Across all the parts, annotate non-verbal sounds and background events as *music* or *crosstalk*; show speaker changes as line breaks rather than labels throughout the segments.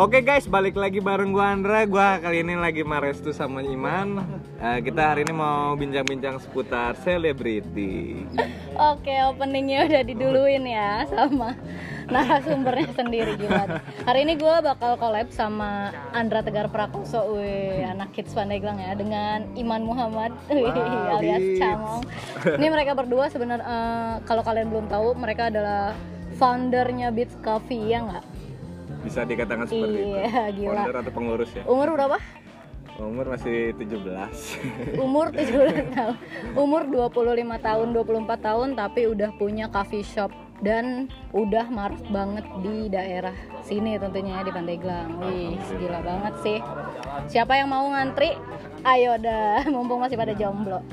Oke guys, balik lagi bareng gua Andra. Gua kali ini lagi sama Restu sama Iman. Eh, kita hari ini mau bincang-bincang seputar selebriti.
Oke, openingnya udah diduluin ya sama narasumbernya sendiri gimana. Hari ini gue bakal collab sama Andra Tegar Prakoso, wih, anak hits Pandeglang ya, dengan Iman Muhammad wih,
Wow,
alias
hits.
Camong. Ini mereka berdua sebenarnya eh, kalau kalian belum tahu mereka adalah foundernya Beats Coffee ya nggak?
Bisa dikatakan seperti
Iya,
itu.
gila.
Founder atau pengurus ya.
Umur berapa?
Umur masih 17.
Umur 17 tahun. Umur 25 tahun, 24 tahun tapi udah punya coffee shop dan udah marak banget di daerah sini tentunya ya, di Pandeglang. Wih, gila banget sih. Siapa yang mau ngantri? Ayo dah, *laughs* mumpung masih pada jomblo. *laughs*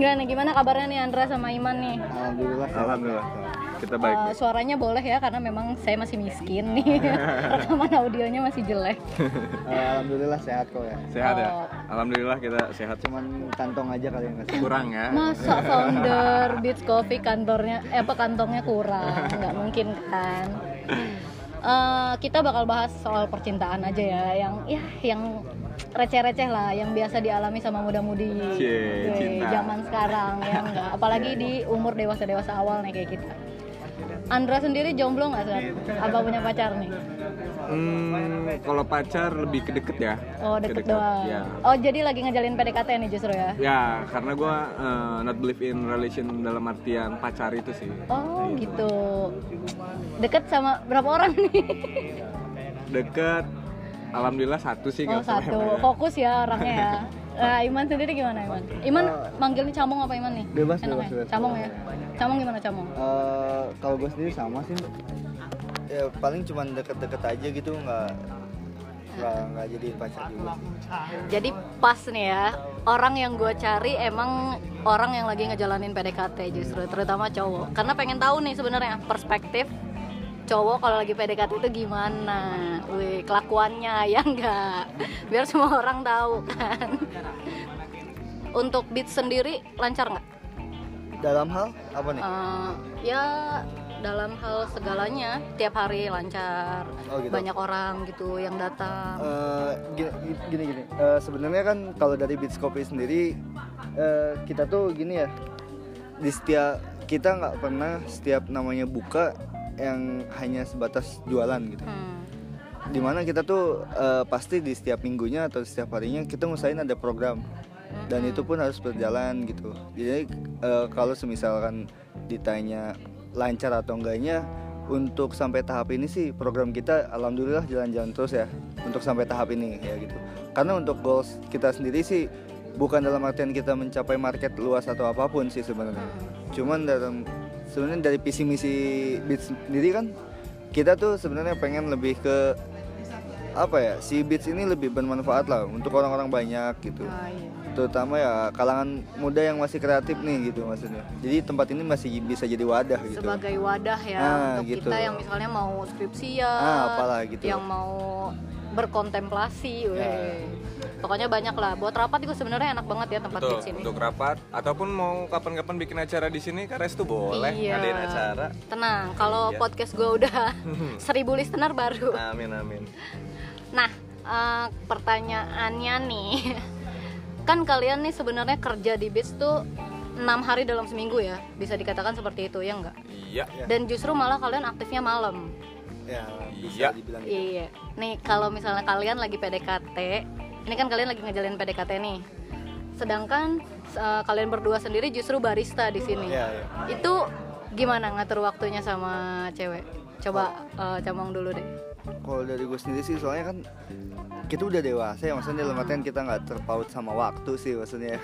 gimana gimana kabarnya nih Andra sama Iman nih?
Alhamdulillah.
Alhamdulillah. Kita baik.
Eh, suaranya boleh ya karena memang saya masih miskin
*laughs*
nih. Rekaman audionya masih jelek.
Alhamdulillah sehat kok ya.
Sehat
eh,
ya? Alhamdulillah kita sehat.
Cuman kantong aja kali yang kasih.
Kurang ya?
Masa founder Beats Coffee kantornya eh, apa kantongnya kurang? nggak mungkin kan. Eh, kita bakal bahas soal percintaan aja ya yang ya yang receh-receh lah yang biasa dialami sama muda-mudi
Cie,
Weh,
cinta.
zaman sekarang ya enggak apalagi di umur dewasa-dewasa awal nih kayak kita. Andra sendiri jomblo nggak sih? Apa punya pacar nih?
Hmm, kalau pacar lebih ke deket ya.
Oh
Ke
deket doang.
Ya.
Oh jadi lagi ngejalin PDKT nih justru ya?
Ya, karena gua eh, not believe in relation dalam artian pacar itu sih.
Oh gitu. Deket sama berapa orang nih?
Deket Alhamdulillah satu
Iya,
sih
Oh
nggak usah
satu.
banyak-banyak.
Fokus ya orangnya
*laughs*
ya. Nah, Iman sendiri gimana Iman? Iman manggilnya Camong apa Iman nih?
Eh, Bebas,
Enak
bebas,
ya?
bebas.
Camong ya. Camong gimana Camong?
Eh, kalau gue sendiri sama sih. Ya paling cuman deket-deket aja gitu nggak nggak nggak jadi pacar juga sih.
Jadi pas nih ya. Orang yang gue cari emang orang yang lagi ngejalanin PDKT justru terutama cowok. Karena pengen tahu nih sebenarnya perspektif cowok kalau lagi PDKT itu gimana, Wih, kelakuannya *laughs* ya enggak, biar semua orang tahu kan. Untuk beat sendiri lancar nggak?
Dalam hal apa nih?
Eh, ya dalam hal segalanya tiap hari lancar
Oh, gitu.
banyak orang gitu yang datang
Eh, gini gini, gini. Eh, sebenarnya kan kalau dari Beats Coffee sendiri eh, kita tuh gini ya di setiap kita nggak pernah setiap namanya buka yang hanya sebatas jualan gitu
Hmm.
dimana kita tuh eh, pasti di setiap minggunya atau setiap harinya kita ngusahain ada program dan itu pun harus berjalan gitu jadi eh, kalau semisalkan ditanya lancar atau enggaknya untuk sampai tahap ini sih program kita alhamdulillah jalan-jalan terus ya untuk sampai tahap ini ya gitu karena untuk goals kita sendiri sih bukan dalam artian kita mencapai market luas atau apapun sih sebenarnya cuman dalam sebenarnya dari visi misi Beat sendiri kan kita tuh sebenarnya pengen lebih ke apa ya si Beats ini lebih bermanfaat lah untuk orang-orang banyak gitu
Ah, iya.
terutama ya kalangan muda yang masih kreatif nih gitu maksudnya jadi tempat ini masih bisa jadi wadah gitu
sebagai wadah ya
Ah,
untuk
gitu.
kita yang misalnya mau skripsian
Ah, apalah gitu.
yang mau berkontemplasi weh.
Ya.
pokoknya banyak lah buat rapat juga sebenarnya enak banget ya tempat
Betul,
beats ini
untuk rapat ataupun mau kapan-kapan bikin acara di sini Kares tuh boleh
Iya.
ngadain acara.
tenang kalau
Iya.
podcast gue
*laughs*
udah seribu listener baru
Amin amin.
Nah, eh, pertanyaannya nih, *laughs* kan kalian nih sebenarnya kerja di Beats tuh enam hari dalam seminggu ya, bisa dikatakan seperti itu ya enggak?
Iya.
Ya.
Dan justru malah kalian aktifnya malam.
ya bisa
Iya.
dibilang gitu.
Iya. Nih kalau misalnya kalian lagi PDKT, ini kan kalian lagi ngejalin PDKT nih. Sedangkan eh, kalian berdua sendiri justru barista di sini.
Iya, iya.
Itu gimana ngatur waktunya sama cewek? Coba eh, camong dulu deh.
kalau dari gue sendiri sih soalnya kan kita udah dewasa ya maksudnya dalam artian kita nggak terpaut sama waktu sih
Iya.
maksudnya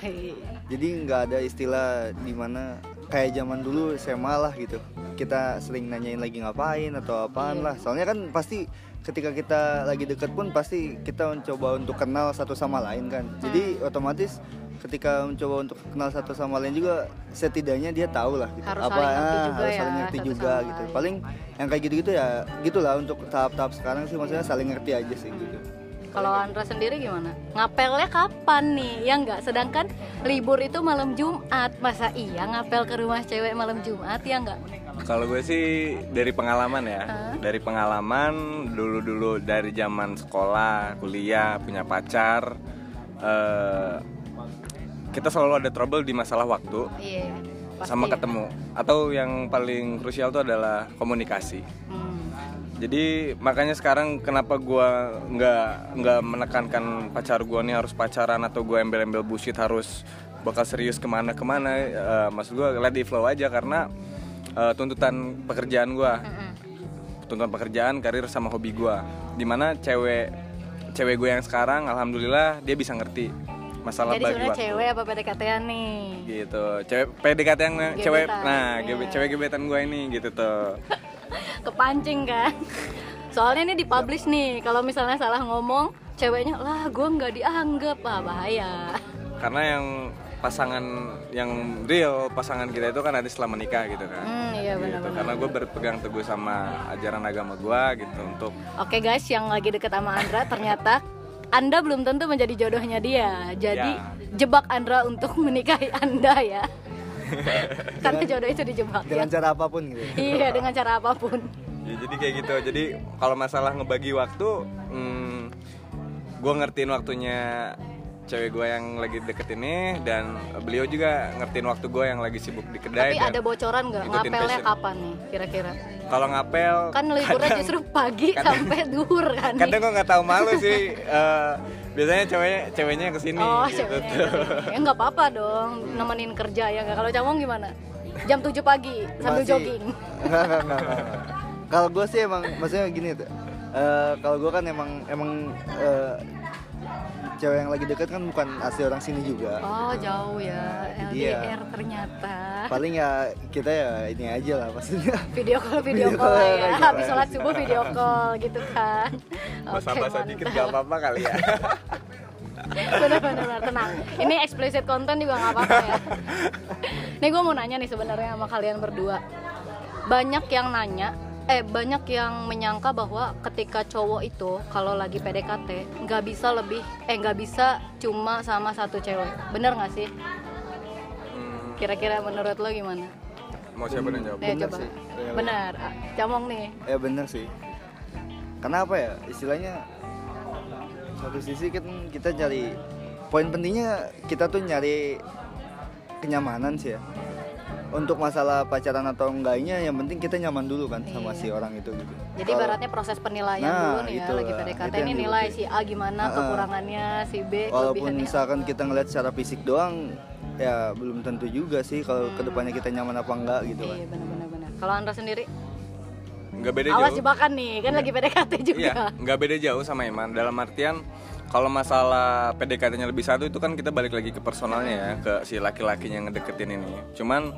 jadi nggak ada istilah dimana kayak
Iya.
zaman dulu SMA lah gitu kita sering nanyain lagi ngapain atau apaan lah soalnya kan pasti ketika kita lagi deket pun pasti kita mencoba untuk kenal satu sama lain kan
Nah.
jadi otomatis ketika mencoba untuk kenal satu sama lain juga setidaknya dia tahu lah gitu.
Harus saling ngerti juga ya,
harus saling ngerti
satu
juga
sama
gitu
lain.
paling yang kayak gitu-gitu ya gitulah untuk tahap-tahap sekarang sih maksudnya saling ngerti aja sih gitu
Kalau Andra sendiri gimana? Ngapelnya kapan nih? Ya nggak. Sedangkan libur itu malam Jumat. Masa iya ngapel ke rumah cewek malam Jumat ya nggak?
Kalau gue sih dari pengalaman ya, dari pengalaman dulu-dulu dari zaman sekolah, kuliah, punya pacar, eh, kita selalu ada trouble di masalah waktu
Iya. pasti
sama
ya.
ketemu. Atau yang paling krusial itu adalah komunikasi.
Hmm.
Jadi makanya sekarang kenapa gua nggak nggak menekankan pacar gua nih harus pacaran atau gua embel-embel bullshit harus bakal serius kemana-kemana. Eh, maksud gua let it flow aja karena eh, tuntutan pekerjaan gua, tuntutan pekerjaan, karir sama hobi gua. Dimana cewek cewek gue yang sekarang, alhamdulillah dia bisa ngerti masalah
Jadi
bagi
sebenarnya
waktu.
cewek apa PDKT-an nih?
gitu cewek PDKT yang cewek
Gebetan,
nah gebe-
iya.
cewek gebetan gue ini gitu tuh
Kepancing kan? Soalnya ini dipublish nih. Kalau misalnya salah ngomong, ceweknya lah gue nggak dianggap ah bahaya.
karena yang pasangan yang real pasangan kita itu kan ada setelah menikah gitu kan
Hmm, iya
Gitu,
benar-benar.
karena gue berpegang teguh sama ajaran agama gue gitu untuk
Oke guys, yang lagi deket sama Andra ternyata Anda belum tentu menjadi jodohnya dia. Jadi
Ya.
jebak Andra untuk menikahi Anda
*laughs*
ya. Karena jodoh itu dijebak ya.
dengan cara apapun gitu
Iya, dengan cara apapun.
ya, jadi kayak gitu jadi kalau masalah ngebagi waktu hmm, gue ngertiin waktunya cewek gue yang lagi deket ini dan beliau juga ngertiin waktu gue yang lagi sibuk di kedai
Tapi
dan
ada bocoran nggak
Ya, ikutin
ngapelnya
passion.
kapan nih kira-kira?
kalau ngapel
Kan liburnya justru pagi sampai duhur kan.
*laughs*
nih.
kadang gue nggak tahu malu sih eh, biasanya ceweknya ceweknya yang kesini
Oh,
gitu tuh.
ceweknya yang kesini. ya nggak apa-apa dong nemenin kerja ya nggak. Kalau cawong gimana? Jam 7 pagi sambil
Masih-
jogging.
Enggak, enggak, enggak, enggak. *laughs* Kalau gue sih emang maksudnya gini tuh. eh, kalau gue kan emang emang eh, cewek yang lagi deket kan bukan asli orang sini juga.
Oh, jauh ya.
Iya.
LDR ternyata.
Paling ya kita ya ini aja lah maksudnya. *laughs*
video call video,
Video
call,
call,
ya
video call.
*laughs* habis sholat subuh video call gitu kan oke
Basa-basa dikit gak
mantap
apa-apa kali
*laughs*
ya
benar-benar tenang ini explicit konten juga nggak apa-apa ya nih gue mau nanya nih sebenarnya sama kalian berdua banyak yang nanya eh banyak yang menyangka bahwa ketika cowok itu kalau lagi PDKT nggak bisa lebih eh nggak bisa cuma sama satu cewek bener nggak sih
Hmm,
kira-kira menurut lo gimana
mau siapa yang jawab?
Nih
Bener
coba
sih.
benar Ah, camong nih
Ya bener sih. Kenapa ya istilahnya satu sisi kan kita cari poin pentingnya kita tuh nyari kenyamanan sih ya. Untuk masalah pacaran atau enggaknya yang penting kita nyaman dulu kan sama si orang itu gitu.
Iya. Jadi
Kalau-
ibaratnya proses penilaian
Nah,
dulu nih ya
itulah,
lagi PDKT
itu yang
ini nilai si A
diukur.
gimana
Ah, ah.
kekurangannya, si B
walaupun
kelebihannya.
misalkan kita ngeliat secara fisik doang ya belum tentu juga sih kalau kedepannya kita nyaman apa enggak gitu kan
Iya benar-benar benar. Kalau Andra sendiri
Nggak beda
awas
jauh
jebakan nih, kan lagi PDKT juga.
Iya, nggak beda jauh sama Iman Dalam artian kalau masalah PDKT-nya lebih satu itu kan kita balik lagi ke personalnya ya Ke si laki-lakinya yang ngedeketin ini Cuman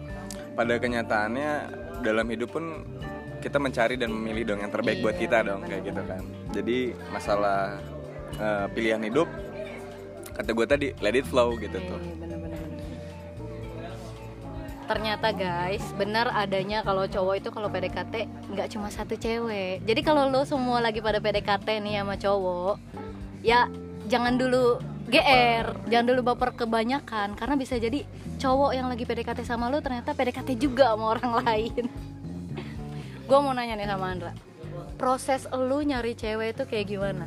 pada kenyataannya dalam hidup pun kita mencari dan memilih dong yang terbaik buat kita dong kayak gitu kan Jadi masalah eh, pilihan hidup kata gue tadi let it flow gitu tuh
Iya, benar-benar benar. Ternyata guys, benar adanya kalau cowok itu kalau PDKT nggak cuma satu cewek. Jadi kalau lo semua lagi pada PDKT nih sama cowok, ya jangan dulu GR, jangan dulu baper kebanyakan karena bisa jadi cowok yang lagi PDKT sama lo ternyata PDKT juga sama orang *laughs* lain. Gue mau nanya nih sama Andra, proses lo nyari cewek itu kayak gimana?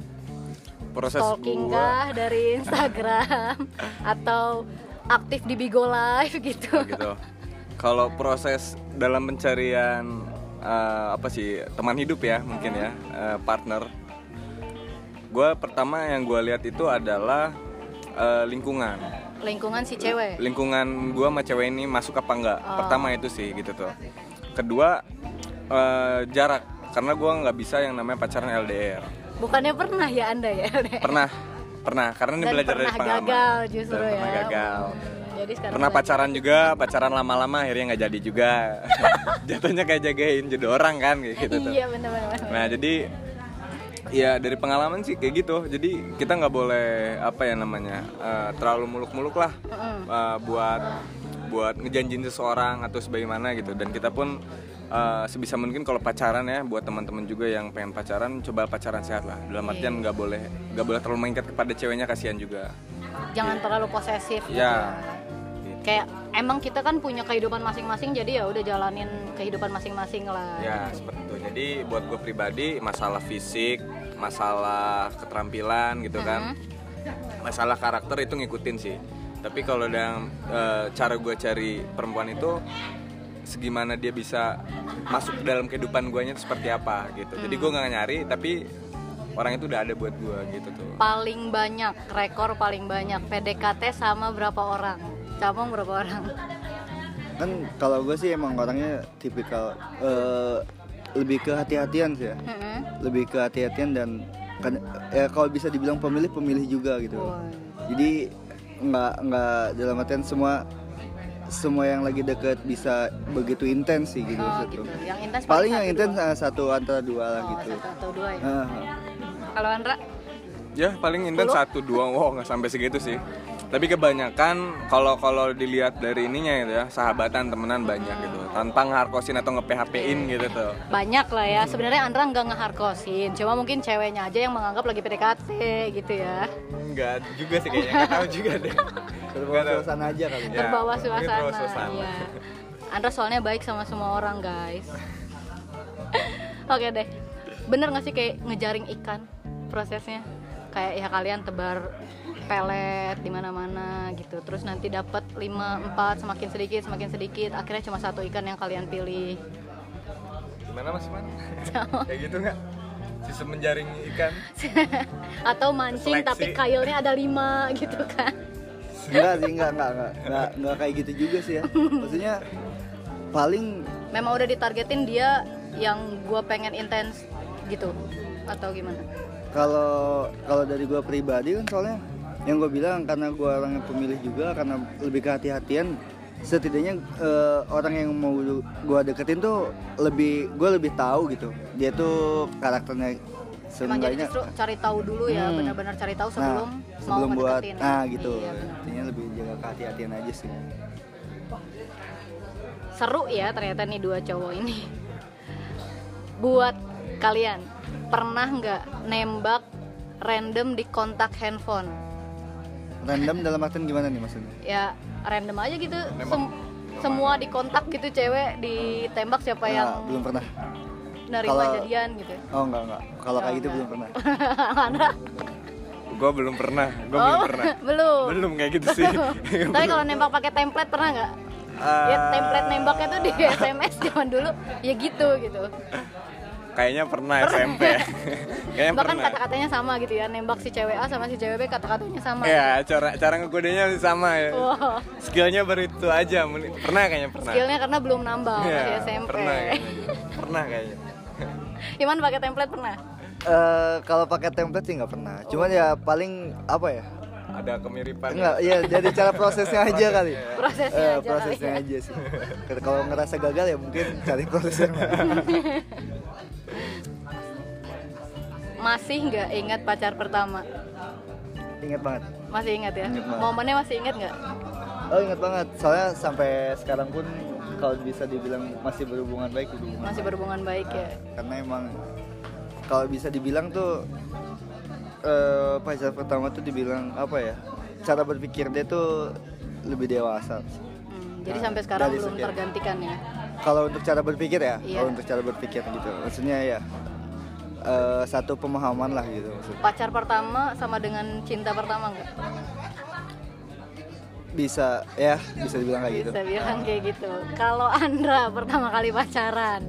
Proses
stalking
gua-
kah dari
*laughs*
Instagram atau aktif di Bigo Live gitu.
Oh, gitu. Kalau proses dalam pencarian eh, apa sih teman hidup ya mungkin ya eh, partner. Gue pertama yang gue lihat itu adalah eh, lingkungan.
Lingkungan si cewek.
Lingkungan gue sama cewek ini masuk apa enggak?
Oh.
Pertama itu sih gitu tuh. Kedua eh, jarak karena gue nggak bisa yang namanya pacaran LDR.
Bukannya pernah ya Anda ya?
Pernah pernah karena ini
Dan
belajar
pernah
dari pengalaman.
gagal justru
Dan
ya.
Pernah gagal.
Hmm, Jadi sekarang
pernah
lagi-
pacaran juga pacaran lama-lama akhirnya nggak jadi juga *laughs* jatuhnya kayak jagain jodoh orang kan kayak gitu tuh
Iya benar benar. benar.
nah jadi ya dari pengalaman sih kayak gitu jadi kita nggak boleh apa ya namanya eh, terlalu muluk-muluk lah eh, buat buat ngejanjin seseorang atau sebagaimana gitu dan kita pun eh, sebisa mungkin kalau pacaran ya buat teman-teman juga yang pengen pacaran coba pacaran sehat lah dalam artian nggak boleh nggak boleh terlalu mengikat kepada ceweknya kasihan juga Iya.
jangan terlalu posesif gitu
ya
kayak emang kita kan punya kehidupan masing-masing jadi ya udah jalanin kehidupan masing-masing lah
Ya seperti itu. Jadi buat gue pribadi masalah fisik, masalah keterampilan gitu kan, masalah karakter itu ngikutin sih. Tapi kalau dalam eh, cara gue cari perempuan itu segimana dia bisa masuk ke dalam kehidupan guanya itu seperti apa gitu. Jadi gue nggak nyari tapi orang itu udah ada buat gue gitu tuh.
paling banyak rekor paling banyak PDKT sama berapa orang cabang berapa orang *laughs*
kan kalau gue sih emang orangnya tipikal eh, lebih ke hati-hatian sih ya
Mm-mm.
lebih ke hati-hatian dan kan ya kalau bisa dibilang pemilih pemilih juga gitu
Woi.
jadi nggak nggak dalam artian semua semua yang lagi deket bisa begitu intens sih gitu,
oh,
satu.
gitu yang intens
paling yang
satu,
intens
dua.
eh, satu antara dua lah
oh,
gitu
satu atau dua ya
Ah,
Nah.
kalau Andra
Ya paling intens satu dua, wow nggak sampai segitu sih. Tapi kebanyakan kalau kalau dilihat dari ininya gitu ya sahabatan temenan banyak gitu. Tanpa ngeharkosin atau nge-PHP-in gitu tuh.
banyak lah ya sebenarnya Andra nggak ngeharkosin cuma mungkin ceweknya aja yang menganggap lagi PDKT gitu ya
Enggak juga sih kayaknya, nggak tahu juga deh.
terbawa suasana aja kali
Ya,
terbawa
mungkin terbawa
Kan suasana,
suasana.
iya. Andra soalnya baik sama semua orang
*laughs*
guys oke deh bener gak sih kayak ngejaring ikan prosesnya kayak ya kalian tebar pelet di mana-mana gitu terus nanti dapat 5 4 semakin sedikit semakin sedikit akhirnya cuma satu ikan yang kalian pilih
Gimana mas Iman? Kayak gitu nggak? Sistem menjaring ikan.
*laughs* atau mancing
Seleksi.
tapi kailnya ada 5 gitu kan
enggak sih enggak enggak enggak enggak, enggak kayak gitu juga sih ya maksudnya paling
memang udah ditargetin dia yang gue pengen intens gitu atau gimana
kalau kalau dari gue pribadi kan soalnya yang gue bilang karena gue orang yang pemilih juga karena lebih kehati-hatian setidaknya eh, orang yang mau gue deketin tuh lebih gue lebih tahu gitu dia tuh karakternya
Emang jadi
sebenarnya
justru cari tahu dulu ya,
Hmm.
benar-benar cari tahu
nah
sebelum mau
sebelum buat
ngedeketin.
nah gitu
Iya, benar.
intinya lebih jaga kehati-hatian aja sih
Seru ya ternyata nih dua cowok ini. buat kalian pernah nggak nembak random di kontak handphone?
random dalam artian gimana nih maksudnya
Ya random aja gitu.
Nembak.
sem- semua di kontak gitu cewek ditembak siapa yang
Nah, belum pernah
nerima
Kalau-
jadian gitu. *laughs*
oh enggak enggak kalau kayak gitu belum pernah
Mana?
Gue belum pernah, gue belum pernah.
Oh, *laughs* belum.
Belum kayak gitu sih.
Tapi kalau nembak pakai template pernah nggak? *laughs*
Eh,
Ya template nembaknya tuh di *laughs* SMS zaman dulu ya gitu gitu.
Kayaknya pernah SMP. *laughs* Kayaknya Eh,
Bahkan
pernah.
kata-katanya sama gitu ya, nembak si cewek A sama si cewek B kata-katanya sama.
Ya, cara cara ngegodenya sama ya.
Wow.
Skillnya baru itu aja. men- Pernah kayaknya pernah.
Skillnya karena belum nambah
Iya,
masih SMP.
Pernah
*laughs*
kayaknya. Pernah kayaknya.
Iman pakai template pernah?
Eh, kalau pakai template sih nggak pernah cuman ya paling apa ya
Ada kemiripan.
Enggak, ya dari cara prosesnya aja kali.
Prosesnya
Eh,
aja kali
prosesnya
ya.
aja sih. Kalau- Kalau ngerasa gagal ya mungkin cari prosesnya.
Masih nggak ingat pacar pertama?
ingat banget.
Masih ingat ya?
Ingat banget.
Momennya masih ingat nggak?
Oh, ingat banget. Soalnya sampai sekarang pun kalau bisa dibilang masih berhubungan baik berhubungan.
Masih berhubungan baik ya.
Karena emang kalau bisa dibilang tuh eh, pacar pertama tuh dibilang apa ya? Cara berpikir dia tuh lebih dewasa.
Hmm, jadi
Nah,
sampai sekarang
dari
belum
sekian.
tergantikan ya.
Kalau untuk cara berpikir ya,
Iya.
kalau untuk cara berpikir gitu. Maksudnya ya eh, satu pemahaman lah gitu maksudnya.
Pacar pertama sama dengan cinta pertama nggak?
bisa ya bisa dibilang kayak gitu
Bisa bilang kayak gitu. Kalau Andra pertama kali pacaran,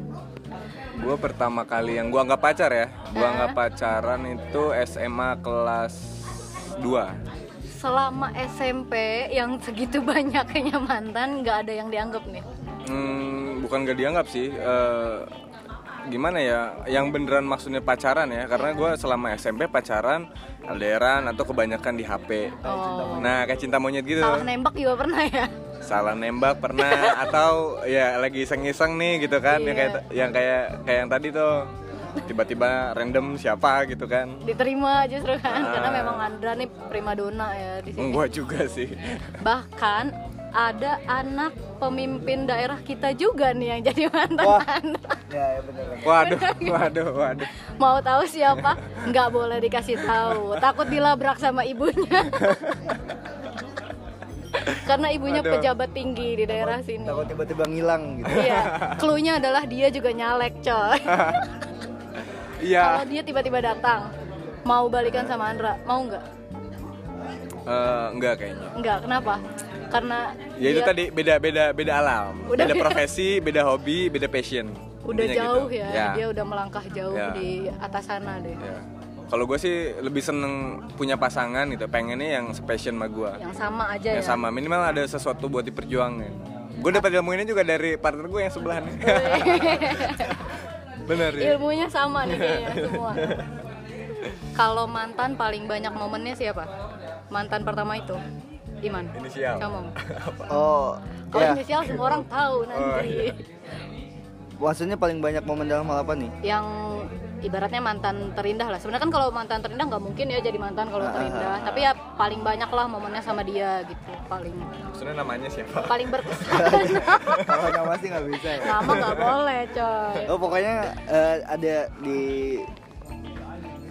Gue pertama kali yang gue anggap pacar ya. Gue anggap pacaran itu SMA kelas 2
selama SMP yang segitu banyaknya mantan nggak ada yang dianggap nih
Hmm, bukan gak dianggap sih. eh, gimana ya? Yang beneran maksudnya pacaran ya? Karena gue selama SMP pacaran, alderan atau kebanyakan di HP.
oh.
Nah, kayak cinta monyet gitu.
salah nembak juga pernah ya
salah nembak
*laughs* Iya.
pernah atau ya lagi iseng-iseng nih gitu kan yang kayak yang kayak kayak yang tadi tuh tiba-tiba random siapa gitu kan
diterima justru kan
Ah. Hmm.
karena memang Andra nih primadona ya di sini
enggak juga
*laughs*
sih
bahkan ada anak pemimpin daerah kita juga nih yang jadi mantan
Wah.
Andra.
ya, ya bener
waduh waduh waduh
mau tahu siapa nggak boleh dikasih tahu takut dilabrak sama ibunya karena ibunya
Aduh.
pejabat tinggi di daerah sini
takut tiba-tiba ngilang gitu
iya cluenya adalah dia juga nyalek coy kalau
*laughs* iya
dia tiba-tiba datang mau balikan sama Andra mau nggak
Eh, enggak kayaknya
nggak kenapa karena
ya itu
dia
tadi beda beda beda alam
Iya. Udah
beda
beda.
profesi beda hobi beda passion
udah
Intinya
jauh
gitu.
ya, dia udah melangkah jauh
Ya.
di atas sana deh
Ya. Kalau gue sih lebih seneng punya pasangan gitu, pengennya yang sepassion sama gue,
yang sama aja
yang
ya
sama minimal ada sesuatu buat diperjuangin. Gue dapat ilmu ini juga dari partner gue yang sebelah nih. *laughs* Bener ya.
ilmunya sama nih kayaknya semua kalau mantan paling banyak momennya siapa mantan pertama itu Iman
Inisial.
*laughs*
kamu
oh
kalau
ya Oh, iya.
inisial semua orang tahu nanti
maksudnya paling banyak momen dalam hal apa nih
yang ibaratnya mantan terindah lah sebenarnya kan kalau mantan terindah nggak mungkin ya jadi mantan
Ah,
kalau terindah tapi ya paling banyak lah momennya sama dia gitu paling
Maksudnya namanya siapa?
paling
*laughs*
berkesan
*laughs* kalau nama sih nggak bisa ya
nama nggak boleh coy
oh pokoknya eh, ada di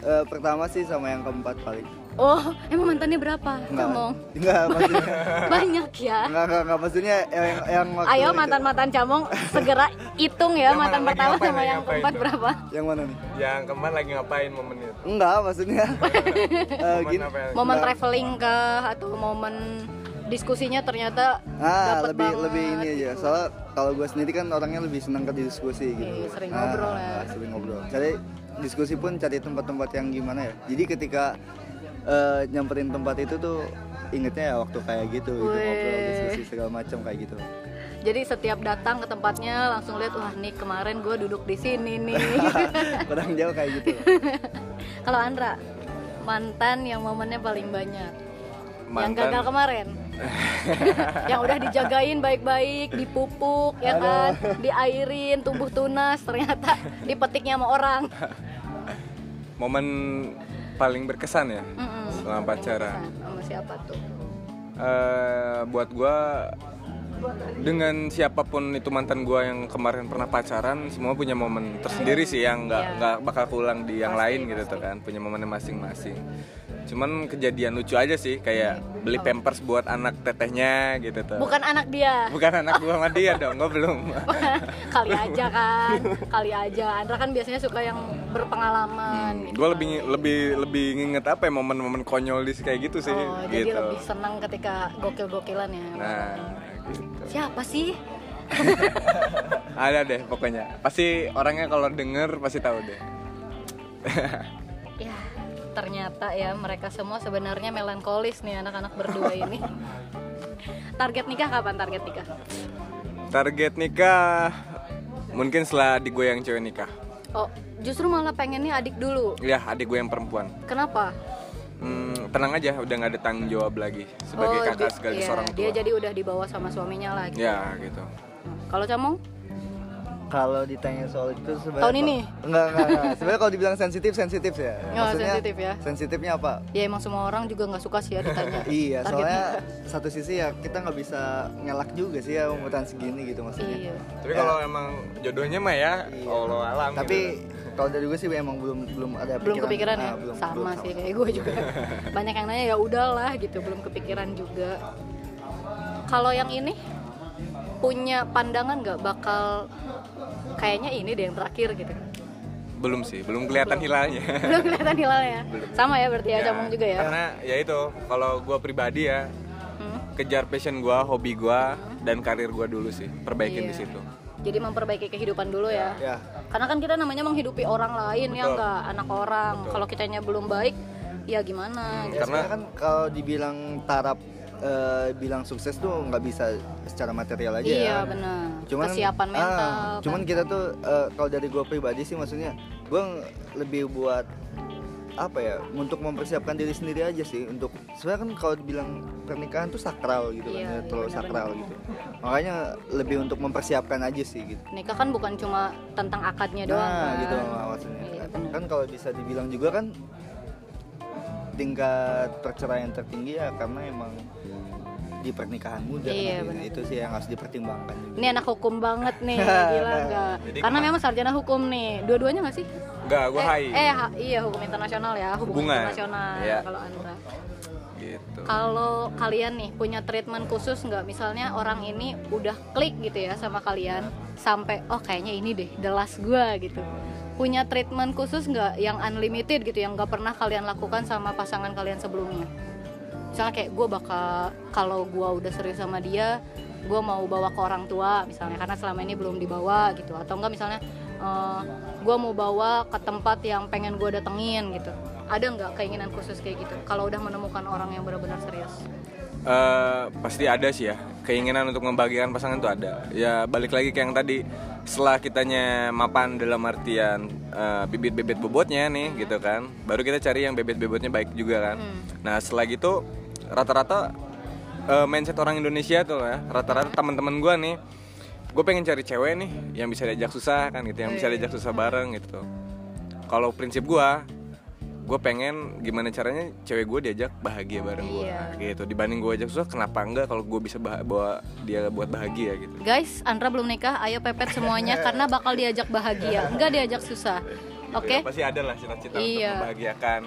eh, pertama sih sama yang keempat paling
oh emang mantannya berapa
Nggak,
Camong
nggak maksudnya *laughs*
banyak ya
nggak nggak nggak maksudnya yang yang waktu
Ayo
itu.
mantan-mantan camong segera hitung ya
Yang
mantan
mana, lagi
pertama
ngapain,
sama
lagi
yang
ngapain
keempat
tuh?
berapa?
yang mana nih
Yang kemarin lagi ngapain momennya?
enggak
*laughs*
maksudnya eh,
Momen
gini
apa ya?
Momen
Nggak.
traveling kah atau momen diskusinya ternyata
ah
dapet
lebih
banget
lebih ini aja
gitu.
soalnya kalau gue sendiri kan orangnya lebih senang ke diskusi gitu
Iya, sering
Ah,
ngobrol ya.
sering ngobrol cari diskusi pun cari tempat-tempat yang gimana ya jadi ketika eh, nyamperin tempat itu tuh ingetnya ya waktu kayak gitu gitu ngobrol
Weh.
diskusi segala macam kayak gitu *laughs*
Jadi setiap datang ke tempatnya langsung lihat wah nih kemarin gue duduk di sini nih.
*laughs* kurang jauh kayak gitu
Kalau Andra mantan yang momennya paling banyak. Yang gagal kemarin. yang udah dijagain baik-baik, dipupuk ya kan, diairin, tumbuh tunas, ternyata dipetiknya sama orang.
momen paling berkesan ya
Mm-mm.
selama pacaran.
Nah, sama siapa tuh?
Eh, buat gue dengan siapapun itu mantan gue yang kemarin pernah pacaran semua punya momen tersendiri sih yang nggak
Iya.
nggak bakal pulang di yang lain gitu tuh kan punya momennya masing-masing cuman kejadian lucu aja sih kayak beli pampers buat anak tetehnya gitu tuh
Bukan anak
*laughs*
dia.
Bukan anak gue sama dia dong gue
*laughs*
belum
kali aja kan, kali aja. Andra kan biasanya suka yang berpengalaman. gitu
gue
kan.
lebih lebih lebih nginget apa ya momen-momen konyol di kayak gitu sih
Oh, jadi
gitu
lebih senang ketika gokil-gokilan ya.
nah gitu
Siapa sih?
ada deh pokoknya pasti orangnya kalau denger pasti tahu deh
Ya, ternyata ya mereka semua sebenarnya melankolis nih anak-anak berdua
*laughs*
ini. Target nikah kapan target nikah?
Target nikah mungkin setelah adik gue yang cewek nikah.
Oh, justru malah pengennya adik dulu.
Ya adik gue yang perempuan.
Kenapa?
Hmm, tenang aja, udah nggak ada tanggung jawab lagi sebagai
Oh,
kakak
di-
sekaligus
iya,
seorang tua.
Dia jadi udah dibawa sama suaminya lagi.
Ya gitu.
Kalau camong?
kalau ditanya soal itu sebenarnya
Tahun ini?
enggak enggak, enggak. sebenarnya kalau dibilang sensitif sensitif ya
Oh, sensitif ya.
sensitifnya apa
Ya emang semua orang juga nggak suka sih ya ditanya.
*laughs* Iya,
target
soalnya
nikah.
satu sisi ya kita nggak bisa ngelak juga sih ya umuran segini gitu maksudnya. Ya.
Iya.
Tapi kalau emang jodohnya mah ya, Allah alam.
Tapi
gitu.
kalau dari gue sih emang belum belum ada
Belum kepikiran ya?
Ah, belum-
sama
belum
sih kayak gue juga. Banyak yang nanya ya udahlah gitu, belum kepikiran juga. Kalau yang ini punya pandangan nggak bakal kayaknya ini deh yang terakhir gitu.
belum sih, belum kelihatan
*laughs*
hilalnya.
Belum kelihatan hilalnya. Sama ya berarti ya, camong juga ya.
Karena ya itu, kalau gue pribadi ya
Hmm.
kejar passion gue, hobi gue, dan karir gue dulu sih, perbaikin
Iya.
di situ.
Jadi memperbaiki kehidupan dulu ya.
Ya,
Karena kan kita namanya menghidupi orang lain ya
Betul.
nggak anak orang. Kalau kitanya belum baik, ya gimana?
ya
Karena-
karena kan kalau dibilang taraf eh, bilang sukses tuh nggak bisa secara material aja
Iya
ya.
benar.
Cuman
Kesiapan
ah,
mental.
cuman
kan.
kita tuh eh, kalau dari gue pribadi sih maksudnya gue lebih buat apa ya untuk mempersiapkan diri sendiri aja sih untuk sebenarnya kan kalau dibilang pernikahan tuh sakral gitu kan
Iya,
ya,
iya,
terlalu
benar-benar.
sakral gitu makanya lebih untuk mempersiapkan aja sih gitu
nikah kan bukan cuma tentang akadnya doang
nah
kan.
gitu maksudnya
Iya,
Kan-
benar.
kan kalau bisa dibilang juga kan tingkat perceraian tertinggi ya karena emang di pernikahan muda kan,
Iya,
gitu.
benar.
itu sih yang harus dipertimbangkan juga.
Ini anak hukum banget
*laughs*
nih,
Nah,
gila nggak?
Jadi
Karena
kemana-
memang sarjana hukum nih, dua-duanya nggak sih?
Enggak, gue
eh,
hai.
eh, ha- iya hukum internasional ya, hukum
Hubungan.
internasional
Iya.
kalau Andra.
Gitu.
Kalau kalian nih punya treatment khusus nggak? Misalnya orang ini udah klik gitu ya sama kalian, sampai oh kayaknya ini deh the last gua gitu. Punya treatment khusus nggak yang unlimited gitu, yang nggak pernah kalian lakukan sama pasangan kalian sebelumnya? misalnya kayak gue bakal kalau gue udah serius sama dia gue mau bawa ke orang tua misalnya karena selama ini belum dibawa gitu atau enggak misalnya gue mau bawa ke tempat yang pengen gue datengin gitu ada nggak keinginan khusus kayak gitu kalau udah menemukan orang yang benar-benar serius
Eh, pasti ada sih ya keinginan untuk membagikan pasangan itu ada ya balik lagi ke yang tadi setelah kitanya mapan dalam artian eh, bibit-bibit bobotnya nih gitu kan baru kita cari yang bibit-bibitnya baik juga kan nah setelah gitu rata-rata eh, mindset orang Indonesia tuh ya rata-rata teman-teman gua nih gue pengen cari cewek nih yang bisa diajak susah kan gitu yang bisa diajak susah bareng gitu kalau prinsip gua gue pengen gimana caranya cewek gue diajak bahagia bareng gue gitu dibanding gue ajak susah kenapa enggak kalau gue bisa bah- bawa dia buat bahagia gitu
guys Andra belum nikah ayo pepet semuanya karena bakal diajak bahagia nggak diajak susah
Ya,
oke
pasti ada lah cita-cita
Iya.
untuk membahagiakan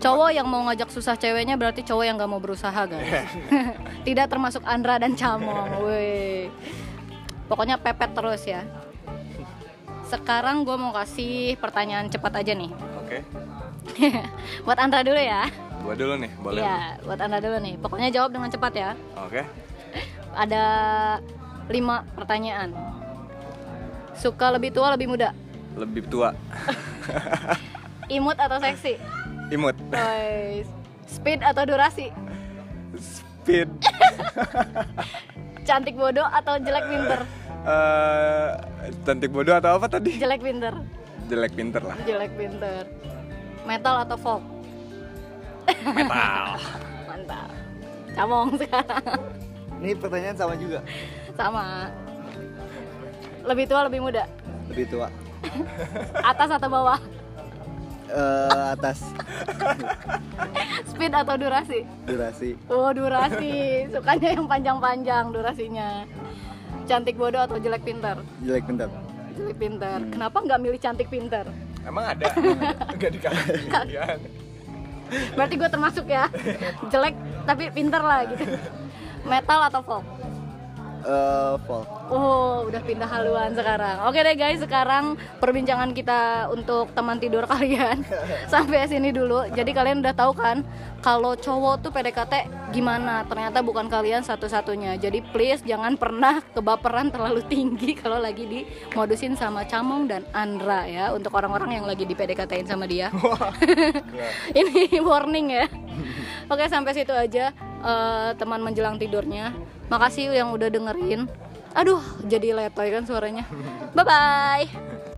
cowok yang mau ngajak susah ceweknya berarti cowok yang gak mau
Iya.
berusaha guys *laughs* tidak termasuk Andra dan Camong
*laughs*
weh. pokoknya pepet terus ya sekarang gue mau kasih pertanyaan cepat aja nih *laughs*
oke
buat Andra dulu ya
gue dulu nih boleh
Iya, buat Andra dulu nih pokoknya jawab dengan cepat ya
oke
ada lima pertanyaan suka lebih tua lebih muda
lebih tua
imut atau seksi
imut
Guys. speed atau durasi
speed *laughs*
cantik bodoh atau jelek pinter
Eh, cantik bodoh atau apa tadi
jelek pinter
jelek pinter lah
jelek pinter metal atau folk *laughs*
metal
mantap camong sekarang
ini pertanyaan sama juga
*laughs* sama lebih tua lebih muda
lebih tua
atas atau bawah
Eh, atas
speed atau durasi
durasi
oh durasi sukanya yang panjang-panjang durasinya cantik bodoh atau jelek pinter
jelek bentar
jelek pinter kenapa nggak milih cantik pinter
emang ada enggak
*laughs*
dikasih pilihan.
berarti gue termasuk ya jelek tapi pinter lah gitu metal atau folk
eh Paul
Oh, udah pindah haluan sekarang. Oke deh guys, sekarang perbincangan kita untuk teman tidur *laughs* kalian sampai sini dulu. Jadi kalian udah tahu kan kalau cowok tuh PDKT gimana? Ternyata bukan kalian satu-satunya. Jadi please jangan pernah kebaperan terlalu tinggi *laughs* kalau lagi di modusin sama Camong dan Andra ya untuk orang-orang yang lagi di PDKT-in sama dia. *laughs* Ini warning ya. *laughs* Oke, sampai situ aja eh, teman menjelang tidurnya. ya Makasih yang udah dengerin. Aduh, jadi letoy kan suaranya. Bye bye.